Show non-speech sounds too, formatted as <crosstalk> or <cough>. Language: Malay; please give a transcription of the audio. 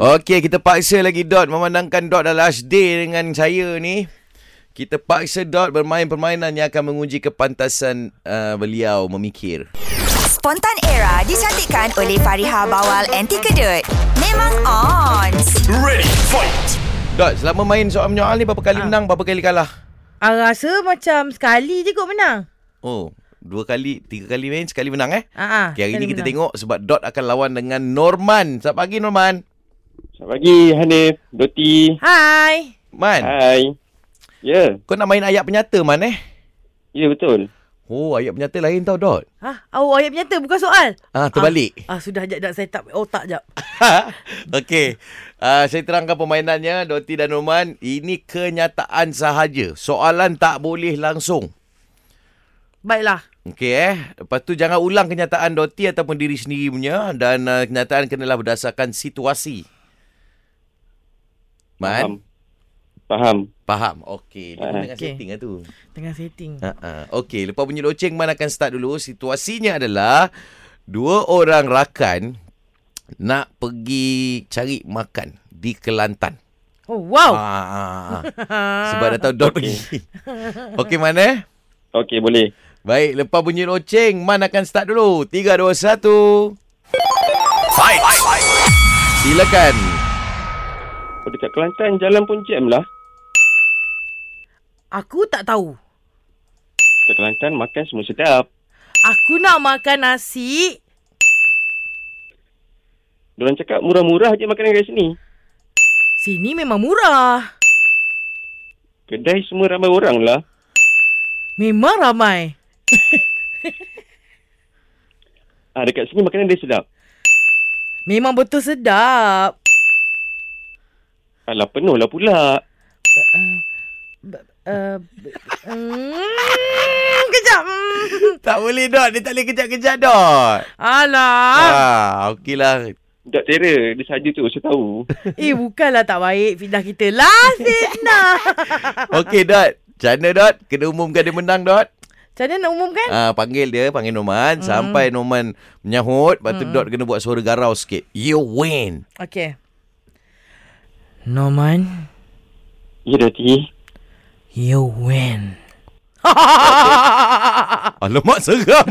Okey, kita paksa lagi Dot memandangkan Dot dah last day dengan saya ni. Kita paksa Dot bermain permainan yang akan menguji kepantasan uh, beliau memikir. Spontan Era dicantikkan oleh Fariha Bawal Anti Kedut. Memang on. Ready, fight! Dot, selama main soal menyoal ni berapa kali menang, berapa kali kalah? Ah, rasa macam sekali je kot menang. Oh, dua kali, tiga kali main, sekali menang eh? Ah, ah, Okay, hari sekali ni kita menang. tengok sebab Dot akan lawan dengan Norman. Selamat pagi Norman. Selamat pagi Hanif, Doti. Hai. Man, Hai. Ya, kau nak main ayat penyata Man eh? ya betul. Oh, ayat penyata lain tau Dot. Ah, awak ayat penyata bukan soal. Ah, terbalik. Ah, ah sudah jap jap saya tak otak jap. <laughs> Okey. Uh, saya terangkan permainannya Doti dan Norman. Ini kenyataan sahaja. Soalan tak boleh langsung. Baiklah. Okey eh. Lepas tu jangan ulang kenyataan Doti ataupun diri sendiri punya dan uh, kenyataan kenalah berdasarkan situasi. Man, Faham. faham. Okey, dia Ah, pun tengah okey. setting lah tu. Tengah setting. Uh-uh. Okey, lepas bunyi loceng Man akan start dulu. Situasinya adalah dua orang rakan nak pergi cari makan di Kelantan. Oh, wow. Ah, ah, ah. Sebab dah tahu Don pergi. Okey Man eh? Faham. Okey, boleh. Baik, lepas bunyi loceng, Man akan start dulu. 3, 2, 1. Fight! Silakan. Kalau dekat Kelantan, jalan pun jam lah. <laughs> Aku tak tahu. Dekat Kelantan, makan semua sedap. Aku nak makan nasi. Diorang cakap murah-murah je makanan kat sini. Sini memang murah. Kedai semua ramai orang lah. Memang ramai. Ah, dekat sini makanan dia sedap. Memang betul sedap. Alah, penuh lah pula. <laughs> Uh, mm, kejap. <laughs> Mm. Tak boleh Dot, dia tak boleh kejap-kejap Dot. Alah. Ah, okeylah. Dok terror, dia saja tu, saya tahu. Eh, bukanlah tak baik fitnah kita. <laughs> Lah, fitnah. Okey Dot. Macam mana Dot? Kena umumkan dia menang Dot. Macam mana nak umumkan? Ah, panggil dia, panggil Norman. Mm. Sampai Norman menyahut, lepas tu Dot kena buat suara garau sikit. You win. Okay. Norman. Ya, Doti. You win. <laughs> Alamak, seram.